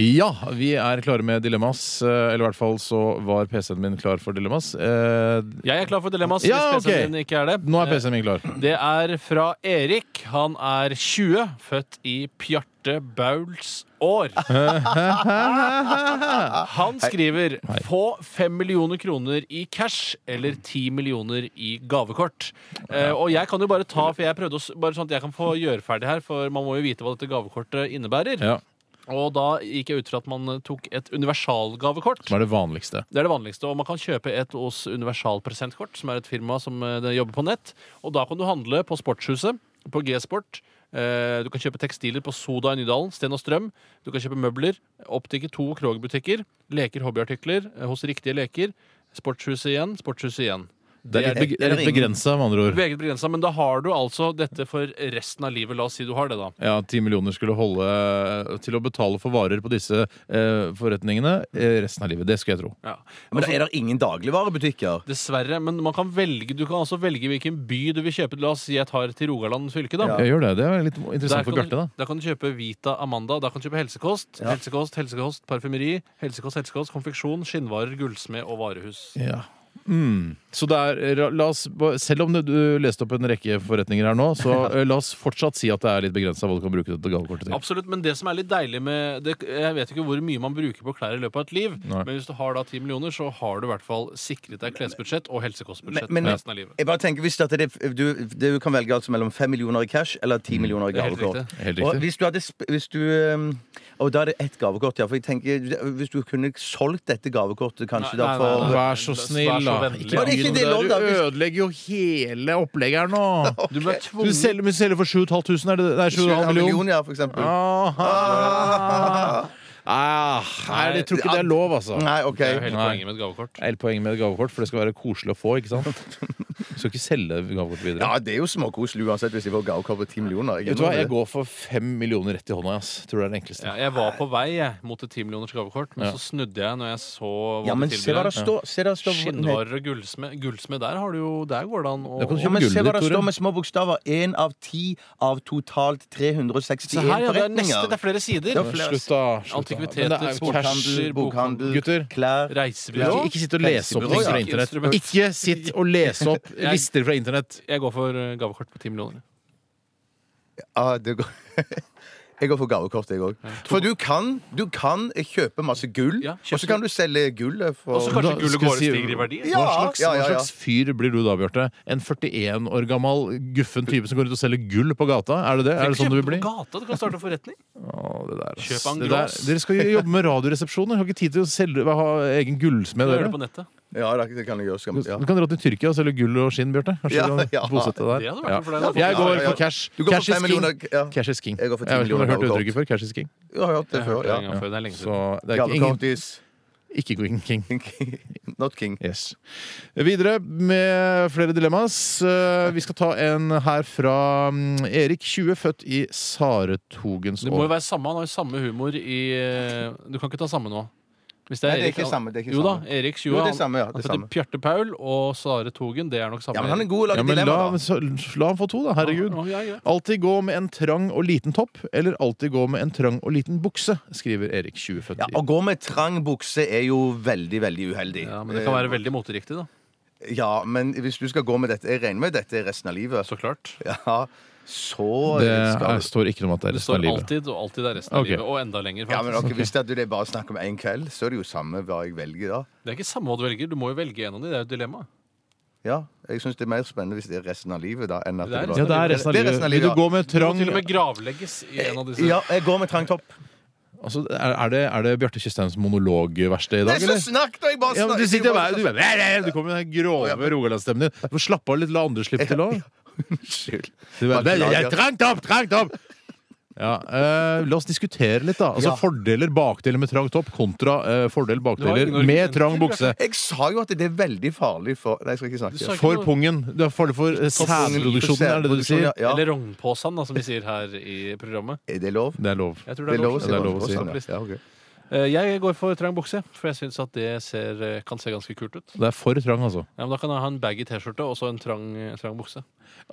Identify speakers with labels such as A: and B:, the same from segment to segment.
A: Ja, vi er klare med dilemmas. eh, Eller i hvert fall så var PC-en min klar for dilemmas. Eh,
B: Jeg er klar for dilemmas
A: Ja,
B: hvis
A: ok.
B: PC-en din ikke er det. Eh,
A: Nå er PC-en min klar.
B: Det er fra Erik. Han er 20, født i Pjarte Bauls år. Han skriver få 5 millioner kroner i cash eller 10 millioner i gavekort. Eh, og jeg kan jo bare ta, for jeg prøvde å, s- bare sånn at jeg kan få gjøre ferdig her, for man må jo vite hva dette gavekortet innebærer.
A: Ja,
B: Og da gikk jeg ut fra at man eh, tok et universalgavekort.
A: Som er det vanligste.
B: Det er det vanligste, og Man kan kjøpe et hos Universal Presentkort, som er et firma som eh, det jobber på nett. Og Da kan du handle på Sportshuset, på G-Sport. Eh, Du kan kjøpe tekstiler på Soda i Nydalen, Sten og Strøm. Du kan kjøpe møbler, Optiker 2 og Krog-butikker. Leker, hobbyartikler eh, hos Riktige Leker. Sportshuset igjen, Sportshuset igjen.
A: Det er litt, beg det er litt begrensa, med andre ord.
B: Veget begrensa, men da har du altså dette for resten av livet. La oss si du har det, da.
A: Ja, Ti millioner skulle holde eh, til å betale for varer på disse eh, forretningene eh, resten av livet. Det skal jeg tro.
B: Ja.
C: Men da er det ingen dagligvarebutikker?
B: Dessverre, men man kan velge, du kan altså velge hvilken by du vil kjøpe. La oss si jeg tar til Rogaland fylke, da.
A: Jeg gjør det. Det er litt
B: Der
A: interessant
B: kan,
A: for Bjarte,
B: du,
A: da.
B: der kan du kjøpe Vita Amanda. Der kan du kjøpe helsekost, helsekost, helsekost, parfymeri, helsekost, helsekost, konfeksjon, skinnvarer, gullsmed og varehus.
A: Ja. Mm. Så det er, la oss, selv om det- du leste opp en rekke forretninger her nå, så eh, la oss fortsatt si at det er litt begrensa hva du kan bruke dette gavekortet til.
B: Absolutt, men det som er litt deilig med det, Jeg vet ikke hvor mye man bruker på klær i løpet av et liv,
A: Nei.
B: men hvis du har da ti millioner, så har du i hvert fall sikret deg klesbudsjett og helsekostbudsjett
C: Men- men-
B: for resten av livet.
C: Jeg bare tenker, hvis det, er det- du, det, du kan velge altså mellom 5 millioner i cash eller 10 millioner i
B: Mm, det er helt
C: gavekort.
B: riktig.
A: Helt
C: Og
A: riktig.
C: hvis du hadde sp- hvis du, ehm, Og da er det ett gavekort, ja. For jeg tenker, hvis du kunne solgt dette gavekortet kanskje da for
A: Vær så snill, da. Ikke
B: vennlig.
C: det er ikke
A: begynn
C: det
A: der.
C: lov, da,
A: Du
C: hvis-
A: ødelegger jo hele opplegget her nå.
B: Du ble
A: Du
B: tvunget
A: selger, men du selger for 7500, er det det? Nei, 7,5 millioner.
C: millioner, ja, for eksempel.
A: Ah, ah, nei, jeg tror ikke det er lov, altså.
C: Nei, OK.
B: Det er jo hele
A: Nei.
B: poenget med et gavekort.
A: Hele poenget med et gavekort, for det skal være koselig å få, ikke sant? Du skal ikke selge gavekortet videre.
C: Ja, det er jo småkoselig uansett hvis de får gavekort på 10 millioner. Jeg
A: Vet du hva,
C: innrømmer
A: Jeg
C: det.
A: går for fem millioner rett i hånda. ass. Tror det er det enkleste.
B: Ja, jeg var på vei jeg, mot et ti millioners gavekort, men
A: Ja.
B: så snudde jeg når jeg så
C: Ja,
B: hva
C: men
B: det
C: se hva det
B: tilbød.
C: står. Se hva det står
B: Skinnvarer og gullsmed. Gullsmed, der har du jo Der går det an å
A: Der kan du
C: Ja, men
A: Gullet
C: se
A: ditt,
C: hva
A: Tore.
C: det står med små bokstaver. Én av ti av totalt 361
B: Se her, ja. Det er neste.
C: forretninger.
B: Det er flere sider.
C: Ja, flere-
A: Slutt, da. Slutt, da.
B: Antikviteter,
A: Men det er jo
B: sportshandel,
A: cash.
C: Bokhandel,
A: Gutter.
C: klær
B: Reisebyrå.
A: Ikke, ikke sitt og lese opp
C: Helsebyrå,
A: ting fra
B: ja.
A: internett.
B: Instrument.
A: Ikke sitt og lese opp lister fra internett.
B: Jeg går for eh, gavekort på 10 millioner.
C: Ja, Ah, det går Jeg går for gavekort, jeg òg. For du kan, du kan kjøpe masse gull,
B: Ja, kjøp
C: og så kan du selge gullet for
B: Og så
A: Da
B: kanskje gullet
A: skal
B: går
A: jeg si-
B: stiger i verdi.
C: Ja,
A: hva, slags,
C: ja, ja,
A: hva
C: ja.
A: slags fyr blir du da, Bjarte? En 41 år gammel guffen type som går ut og selger gull på gata? Er det det? Er det sånn du vil bli?
B: Kjøp på gata, du kan starte en forretning.
A: Å, det der, ass.
B: Kjøp en
A: Det der-
B: gross.
A: Dere skal jo jobbe med radioresepsjoner. Har ikke tid til å selge, ha egen gullsmed.
B: Gjør
A: Dere.
B: det på nettet.
C: Ja, det det kan jeg gjøre. Skal, ja.
A: Du kan dra til Tyrkia og selge gull og skinn, Bjarte. Kanskje
C: Ja,
A: du kan
C: ja.
A: bosette deg der.
B: Det hadde vært noe for deg, da.
A: Ja. Jeg går
C: Ja, ja.
A: for cash.
C: Du går
A: cash
C: for
A: is
C: 5
A: king.
C: millioner ja.
A: Cash is king.
C: Jeg går for 10
A: vet ikke om dere har
C: millioner
A: hørt
C: gavekort.
A: uttrykket før. Cash is king.
C: Jeg har hørt det før,
B: Jeg har hørt det
C: ja.
B: en gang før, det er lenge
A: Så
B: siden.
A: det er ikke, ingen,
C: Gavekort is
A: ikke Queen king.
C: not king.
A: Yes. Videre med flere dilemmas. Eh, Vi skal ta en her fra mm, Erik, 20, født i Saretogens
B: Det må jo
A: år.
B: være samme, han har jo samme humor i eh, Du kan ikke ta samme nå. Hvis
C: Nei, det er
B: Erik-
C: ikke samme, det er ikke
B: jo da,
C: samme.
B: Erik
C: Jo,
B: 20.
C: det er samme, ja.
B: han-
C: Det er
B: han heter
C: samme.
B: Pjarte Paul og Sare Togen. Det er nok samme.
C: Ja, men han er god til å
A: Ja,
C: lage
A: men la,
C: dilemmaer. da.
A: så, la ham få to, da. Herregud.
B: Å, ja, ja.
A: Alltid gå med en trang og liten topp, eller alltid gå med en trang og liten bukse, skriver Erik, 20, født
C: Ja,
A: i
C: å gå med trang bukse er jo veldig, veldig uheldig.
B: Ja, men det kan være veldig moteriktig, da.
C: Eh, Ja, men hvis du skal gå med dette Jeg regner med dette resten av livet.
B: Så klart.
C: Ja, så
A: Det
C: skal
A: er,
C: du
A: står ikke noe om at det er
B: Det
A: resten av
B: står
A: livet.
B: alltid og alltid det er resten av
A: Ok.
B: livet. Og enda lenger.
C: ja, men
B: faktisk.
C: ok, Hvis det er det bare er snakk om én kveld, så er det jo samme hva jeg velger da.
B: Det er ikke samme hva du velger. Du må jo velge en av de. Det er jo et dilemma.
C: Ja, jeg syns det er mer spennende hvis det er resten av livet da enn at
B: Det er
C: det,
A: Ja,
C: bare
A: det er liksom resten av
C: Det er
A: livet.
C: resten av
A: Vil du
C: livet,
A: gå med
B: Du må
A: trang
B: til og med gravlegges i en av disse.
C: Eh, Ja, jeg går med trang topp.
A: altså, Er er det, er det Bjarte Tjøstheims monologverksted i
C: Nei,
A: dag,
C: så
A: eller?
C: snakk, da! Jeg bare
A: Ja, men
C: snakker-
A: du sitter
C: jeg bare
A: bare, du, bare, "Nei, nei, nei", du kommer med den grove rogalandsstemmen din. Du får slappe av litt, la andre slippe til òg.
C: Unnskyld. Beklager.
A: Trangt opp! Trangt opp! Ja, eh, la oss diskutere litt, da. Altså
C: Ja.
A: Fordeler, bakdeler med trang topp kontra eh, fordel,
B: Det
A: bakdeler
B: var ingen
A: med
B: argument.
A: trang bukse.
C: Jeg sa jo at det er veldig farlig for Nei, jeg skal ikke
B: Du sa
C: snakke.
B: ikke
A: For
B: noe-
A: pungen. Det er farlig for eh, sædproduksjonen, er det det du sier?
C: Ja,
B: Eller rognposen, da, som vi sier her i programmet.
C: Er det lov?
A: Det er lov.
B: Jeg tror
C: Det er lov å si.
A: det er lov å si.
C: Sånn, ja. Ja, ok.
B: Eh, Jeg går for trang bukse, for jeg syns at det ser, eh, kan se ganske kult ut.
A: Det er for trang, altså.
B: Ja, men Da kan jeg ha en baggy T-skjorte og så en trang, eh, trang bukse.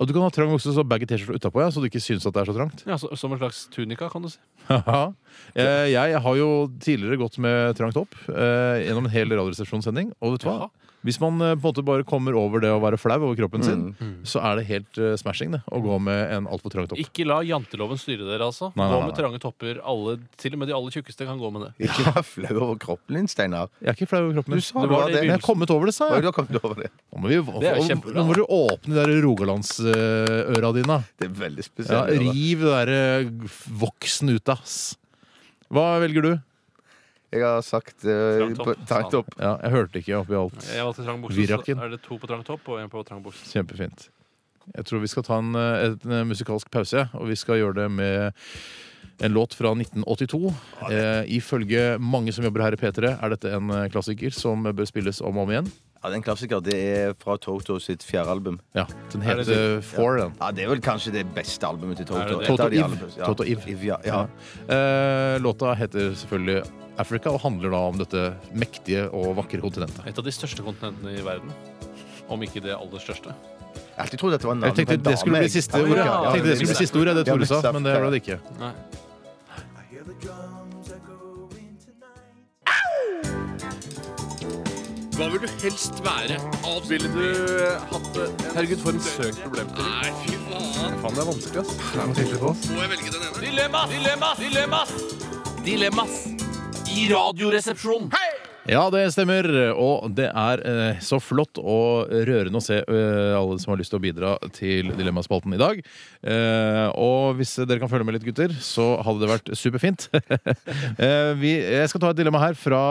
A: Og du kan ha trang bukse så baggy T-skjorte utapå, ja, så du ikke syns at det er så trangt.
B: Ja, så, Som en slags tunika, kan du si.
A: Haha. Eh, jeg har jo tidligere gått med trangt opp eh, gjennom en hel radioresepsjonssending. Og vet du hva?
B: Jaha.
A: Hvis man eh, på en måte bare kommer over det å være flau over kroppen sin, så er det helt eh, smashing det, å gå med en altfor trang topp.
B: Ikke la janteloven styre dere, altså.
A: Nei, nei,
B: Gå
A: nei,
B: med trange topper. Alle, til og med de aller tjukkeste kan gå med det.
C: Ikke vær flau over kroppen din, Steinar.
A: Jeg er ikke flau over kroppen min.
C: Du sa
B: det
C: det
B: var
C: var
B: det i
C: det.
A: Men jeg har kommet over det, sa
C: Oi,
A: jeg.
C: du har kommet over det.
A: Nå må, vi,
B: Det er jo kjempebra.
A: nå må du åpne de der rogalandsøra dine.
C: Det er veldig
A: Ja,
C: spesielt.
A: riv det derre voksen ut, ass. Hva velger du?
C: jeg har sagt
B: Trangt opp.
C: uh, Tankt opp.
A: Ja, jeg hørte ikke oppi alt.
B: Jeg valgte trang bukse, så
A: Virakken.
B: er det to på trang topp og en på trang bukse.
A: Kjempefint. Jeg tror vi skal ta en, eh, en eh, musikalsk pause, ja, og vi skal gjøre det med en låt fra 1982. Eh, ifølge mange som jobber her i P3, er dette en eh, klassiker som bør spilles om og om igjen.
C: Ja, det er en klassiker. Det er fra Toto sitt fjerde album.
A: Ja, Den
B: Er det
A: heter Four, den.
C: Ja, Det er vel kanskje det beste albumet til
B: Er det
C: Toto.
B: det?
C: Et av
A: Toto
C: de
A: Iv.
C: aller beste. Ja.
A: Toto Iv.
C: ja, ja.
A: Eh, låta heter selvfølgelig Africa og handler da om dette mektige og vakre kontinentet.
B: Et av de største kontinentene i verden. Om ikke det aller største.
C: Jeg har alltid trodd at det var
A: Jeg
C: navnet på
A: tenkte
C: en dame.
A: det skulle bli
C: jeg.
A: siste
C: Ja,
A: ordet,
C: ja,
A: Jeg
C: ja,
A: tenkte det skulle bli siste ordet, det Tore sa, men det ble det ikke.
B: Nei. Hva vil du helst være? Ville du
A: eh,
B: hatt det? Herregud, for en søk problemstilling. Nei, fy faen. Faen, det er vanskelig, ass. Må jeg velge den ene? Dilemmas! Dilemmas! Dilemmas! Dilemmas! I radioresepsjonen!
A: Ja, det stemmer. Og det er eh, så flott og rørende å se eh, alle som har lyst til å bidra til Dilemmaspalten i dag. Eh, og hvis dere kan følge med litt, gutter, så hadde det vært superfint. eh, vi, jeg skal ta et dilemma her fra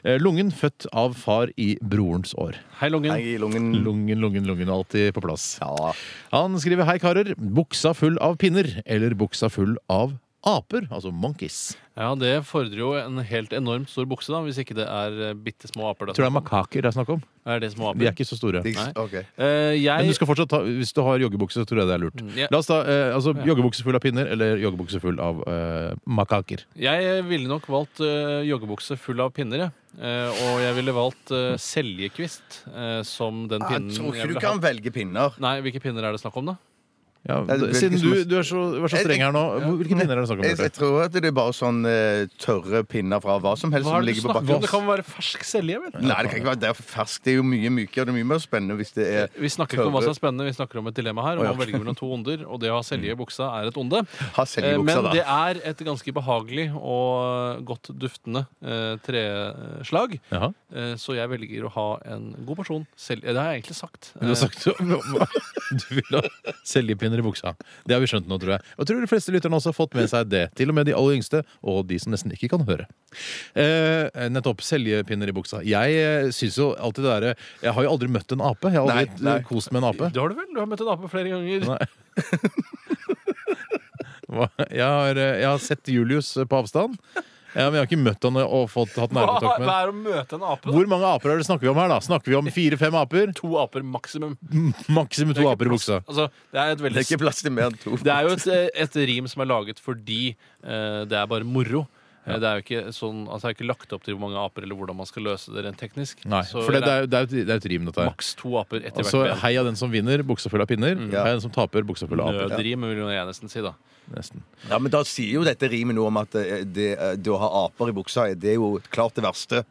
A: eh, Lungen, født av far i brorens år.
B: Hei, Lungen.
C: Nei, i lungen.
A: Lungen, lungen, lungen. Alltid på plass.
C: Ja.
A: Han skriver hei, karer. Buksa full av pinner eller buksa full av aper, altså monkeys.
B: Ja, det fordrer jo en helt enormt stor bukse, da, hvis ikke det er eh, bitte små aper.
A: Jeg tror det er makaker det er snakk om.
B: Er det små
A: De
B: aper?
A: er ikke så store.
C: De-
B: Nei.
C: ok.
B: Eh,
A: Men
B: jeg Mm,
A: du skal fortsatt ta, hvis du har joggebukse, så tror jeg det er lurt.
B: Ja.
A: La oss ta eh, altså, joggebukse full av pinner eller joggebukse full av eh, makaker.
B: Jeg ville nok valgt eh, joggebukse full av pinner, jeg. Eh, og jeg ville valgt eh, seljekvist eh, som den
A: Ah,
C: Jeg
B: pinnen
C: tror ikke
B: jeg
C: du
B: ville
C: kan
B: hatt.
C: velge pinner.
B: Nei, hvilke pinner er det snakk om, da?
A: Ja,
C: Nei, det blir
A: siden
C: ikke så
A: du,
C: mye-
A: du er så, var så streng her nå, hvor- hvilke pinner er det snakk om?
C: Jeg, jeg
A: Bjarte?
C: tror at det er bare sånn eh, tørre pinner fra hva som helst
B: Hva
C: som
B: er det du
C: ligger på
B: snakker om? Det
C: bakken.
B: kan være fersk selje, vel?
C: Nei, det kan ikke være det er ferskt. Det er jo mye mykere og det er mye mer spennende hvis det er
B: Vi snakker ikke om hva som
C: tørre-
B: er spennende, vi snakker om et dilemma her. Om å velge mellom to onder, og det å ha selje i buksa er et onde.
C: Ha selv i
B: Eh,
C: buksa,
B: Men
C: da.
B: det er et ganske behagelig og godt duftende eh, treslag,
A: Jaha.
B: eh, så jeg velger å ha en god porsjon selje. Det har jeg egentlig sagt.
A: Du har sagt du vil ha seljepinner i buksa. Det har vi skjønt nå, tror jeg. Og jeg tror de fleste lytterne også har fått med seg det. Til og med de aller yngste, og de som nesten ikke kan høre. Eh, nettopp. Seljepinner i buksa. Jeg eh, syns jo alltid det derre Jeg har jo aldri møtt en ape. Jeg har aldri
C: Nei, nei.
A: eh, kost med en ape.
B: Eh, Det har du vel? Du har møtt en ape flere ganger.
A: Nei. Hva? Jeg har, eh, jeg har sett Julius eh, på avstand, ja, men jeg har ikke møtt han og fått, hatt
B: Hva
A: nærkontakt med
B: hva
A: han.
B: er å møte en ape? da?
A: Hvor mange aper er det snakker vi om her? da? Snakker vi om Fire-fem aper?
B: to aper maksimum.
A: Maksimum to aper i buksa.
B: Altså, det er et
C: Det
B: veldig
C: er ikke plass til mer enn to.
B: Det er jo et, eh, et rim som er laget fordi eh, det er bare moro. Eh, Det er jo ikke sånn, altså det er ikke lagt opp til hvor mange aper eller hvordan man skal løse det rent teknisk.
A: Nei,
B: Så
A: for det, det, er, jo- det, er, jo et- det er jo et rim, dette her.
B: maks to aper etter
A: Altså,
B: hvert Mm. ben.
A: Heia den som vinner, buksa full av pinner.
C: Ja.
A: Heia den som taper, buksa full av aper.
B: Nødrim, vil jeg nesten si. da
A: Nesten.
C: Ja, men Da sier jo dette rimet noe om at eh, det, eh, det å ha aper i buksa, eh, det er jo klart det verste.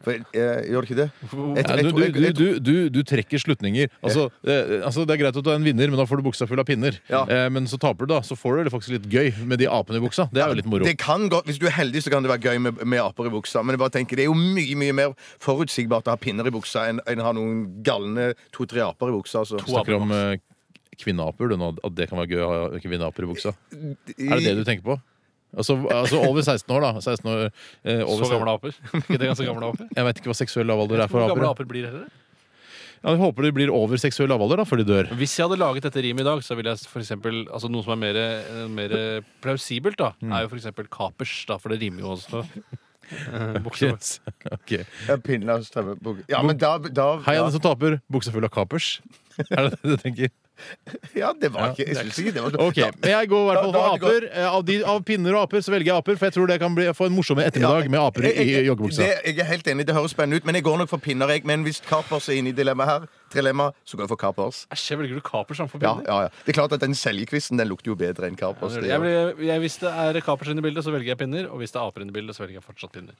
C: For, eh, gjør det ikke det? Jeg-
A: Ja,
C: jeg
A: du,
C: tror-
A: du,
C: jeg-
A: du,
C: jeg-
A: du, du, du trekker slutninger. Altså, eh, altså, Det er greit at du er en vinner, men da får du buksa full av pinner.
C: Ja.
A: Eh, men så taper du, da. Så får du det faktisk litt gøy med de apene i buksa. Det er jo litt moro.
C: Det kan godt, Hvis du er heldig, så kan det være gøy med, med aper i buksa. Men jeg bare tenker, det er jo mye mye mer forutsigbart å ha pinner i buksa enn enn å ha noen galne to-tre aper i buksa. Altså.
B: To
A: snakker om eh, kvinneaper, du nå. At det kan være gøy å ha kvinneaper i buksa. Er det det du tenker på? Altså, altså over 16 år, da. 16 år, eh, over
B: Så gamle aper. ikke det ganske gamle aper?
A: Jeg vet ikke hva seksuell lavalder er for
B: Hvor gamle
A: aper.
B: aper blir dere?
A: Ja, jeg håper de blir over seksuell lavalder da, før de dør.
B: Hvis jeg hadde laget dette rimet i dag, så ville jeg for eksempel, altså noe som er mer, eh, mer plausibelt, da,
A: Mm.
B: er jo for eksempel kapers. da, For det rimer jo også. Eh, bukser.
A: Yes. Ok.
C: Ja, pinner, strømme, bukser. Ja, men da, da
A: Hei,
C: ja.
A: den som taper. Buksa full av kapers. Er det det du tenker?
C: Ja, det var
A: Ja,
C: ikke Jeg syns ikke det var
A: Ok, men Jeg går i hvert fall
C: Da- da
A: for
C: har du gått-
A: aper. Eh, Av, de, av pinner og aper så velger jeg aper, for jeg tror det kan bli, få en morsom ettermiddag med aper i i joggebuksa.
C: Det- Jeg er helt enig, det høres spennende ut, men jeg går nok for pinner, jeg. Men hvis Kapers er inne i dilemmaet her, trilemma, så går jeg for Kapers.
B: Æsj, jeg velger du kaper framfor
C: Ja,
B: pinner.
C: ja, ja. Det er klart at den selgekvisten den lukter jo bedre enn
B: Ja,
C: Kapers.
B: det gjør det.
C: det
B: Altså,
C: gjør
B: Jeg blir, jeg, hvis det er kapers inne i bildet, så velger jeg pinner. Og hvis det er aper inne i bildet, så velger jeg fortsatt pinner.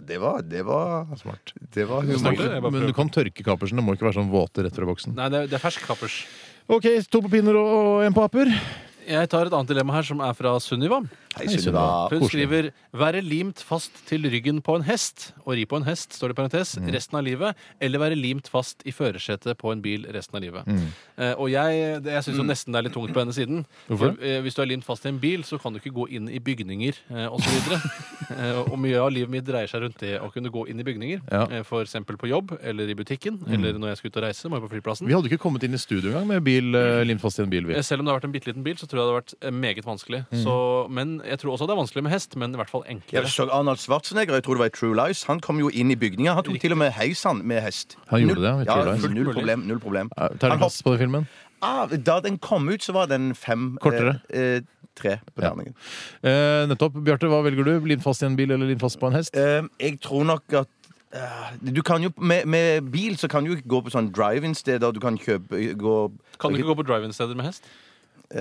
C: Det var, det var
A: Smart.
C: Det var humor.
B: Snakker- Jeg bare
A: Men du
B: prøver.
A: kan tørke kapersen. Det må ikke være sånn våte rett fra boksen.
B: Nei, det er, det er fersk kapers.
A: Ok, To på pinner og, og en på aper.
B: Jeg tar et annet dilemma her, som er fra Sunniva.
C: Hei, Sunniva.
B: Hun
A: Koselig.
B: skriver 'være limt fast til ryggen på en hest' og ri på en hest, står det i parentes,
A: Mm.
B: resten av livet, eller være limt fast i førersetet på en bil resten av livet.
A: Mm.
B: Eh, og jeg, det- jeg syns jo nesten det er litt tungt på denne siden.
A: Hvorfor det?
B: For, eh, hvis du er limt fast i en bil, så kan du ikke gå inn i bygninger eh, og så videre. eh, og mye av livet mitt dreier seg rundt det å kunne gå inn i bygninger.
A: Ja. Mm.
B: Eh, for eksempel på jobb, eller i butikken, eller når jeg skal ut og reise, må jeg på flyplassen.
A: Vi hadde ikke kommet inn i studio engang med bil eh, limt fast i en bil. Vi.
B: Eh, Selv om det har vært en bitte liten bil, så tror jeg det har vært eh, meget vanskelig.
A: Mm.
B: Så, men jeg tror også det er vanskelig med hest, men i hvert fall
C: Jeg
B: enklere.
C: så Arnold Schwarzenegger, jeg tror det var i True Lies. Han kom jo inn i bygninga. Han tok til og med heisan med hest.
A: Han gjorde
C: Null-
A: det, i True
C: ja,
A: Lies.
C: Null
B: Fullt mulig.
C: problem. Null problem.
A: Eh,
C: Han hopp-
A: Terningkast på den filmen.
C: ah, da den kom ut, så var den fem
A: Kortere.
C: Eh, eh, tre på
A: Ja.
C: terningen.
A: Eh, nettopp. Bjarte, hva velger du? Limt fast i en bil eller limt fast på en hest?
C: Eh, jeg tror nok at eh, du kan jo, med, med bil så kan du jo ikke gå på sånn drive-in-steder. Du kan kjøpe gå,
B: Kan du ikke gå på drive-in-steder med hest?
C: eh,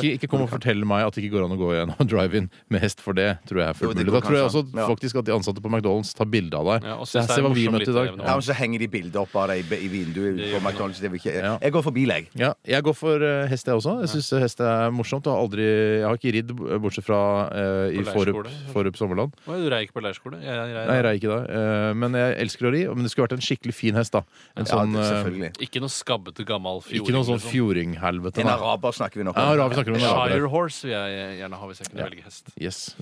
A: Ikke, ikke kom og fortell meg at det ikke går an å gå gjennom drive-in med hest, for det tror jeg er
C: Jo,
A: fullt
C: det
A: mulig.
C: går
A: Da tror jeg også
C: kanskje an. Ja.
A: faktisk at de ansatte på McDonald's tar bilde av deg.
B: Ja, og
A: Se
B: synes det er
A: se hva vi
B: morsomt
A: møtte i dag.
B: litt eh,
C: Ja, men så henger de bilder opp av deg i, i vinduet.
B: Det
C: på
B: gjør man.
C: McDonald's, det vil ikke,
A: Ja.
C: Jeg går for bil, jeg.
A: Ja, jeg går for eh, hest, jeg også. Jeg syns hest er morsomt. Og har aldri, jeg har ikke ridd, b- bortsett fra eh, i
B: På
A: Forup,
B: leirskole.
A: Forup sommerland.
B: Å, Du rei ikke på leirskole? Jeg, jeg,
A: Nei, jeg rei ikke da. Eh, men jeg elsker å ri. Men det skulle vært en skikkelig fin hest, da. En
C: Ja,
A: sånn,
C: det-
A: eh,
C: selvfølgelig.
B: Ikke noe skabbete gammel fjord. liksom.
A: ikke noe sånn fjordinghelvete.
C: En
A: nei.
C: araber snakker vi nok
A: Ja, araber snakker vi om en araber.
B: Shire horse vil jeg gjerne ha hvis jeg kunne velge hest.
A: Yes.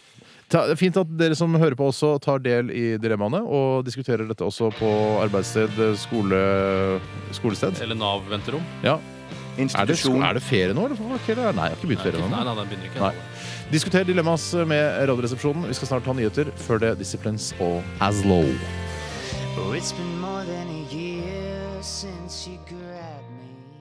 A: Ta, det er fint at dere som hører på også tar del i dilemmaene og diskuterer dette også på arbeidssted, skole, skolested.
B: Eller Nav-venterom.
A: Ja. Er, det,
C: Institusjon.
A: er det ferie nå, eller? for folk, eller? Nei, jeg har ikke begynt
B: Nei,
A: ferie
B: nei,
A: ennå.
B: nei, den begynner ikke.
A: Nei. Diskuter dilemmas med Radioresepsjonen. Vi skal snart ta nyheter. Før det Disciplines og Aslow.
D: Oh, it's been more than a year since you grabbed me.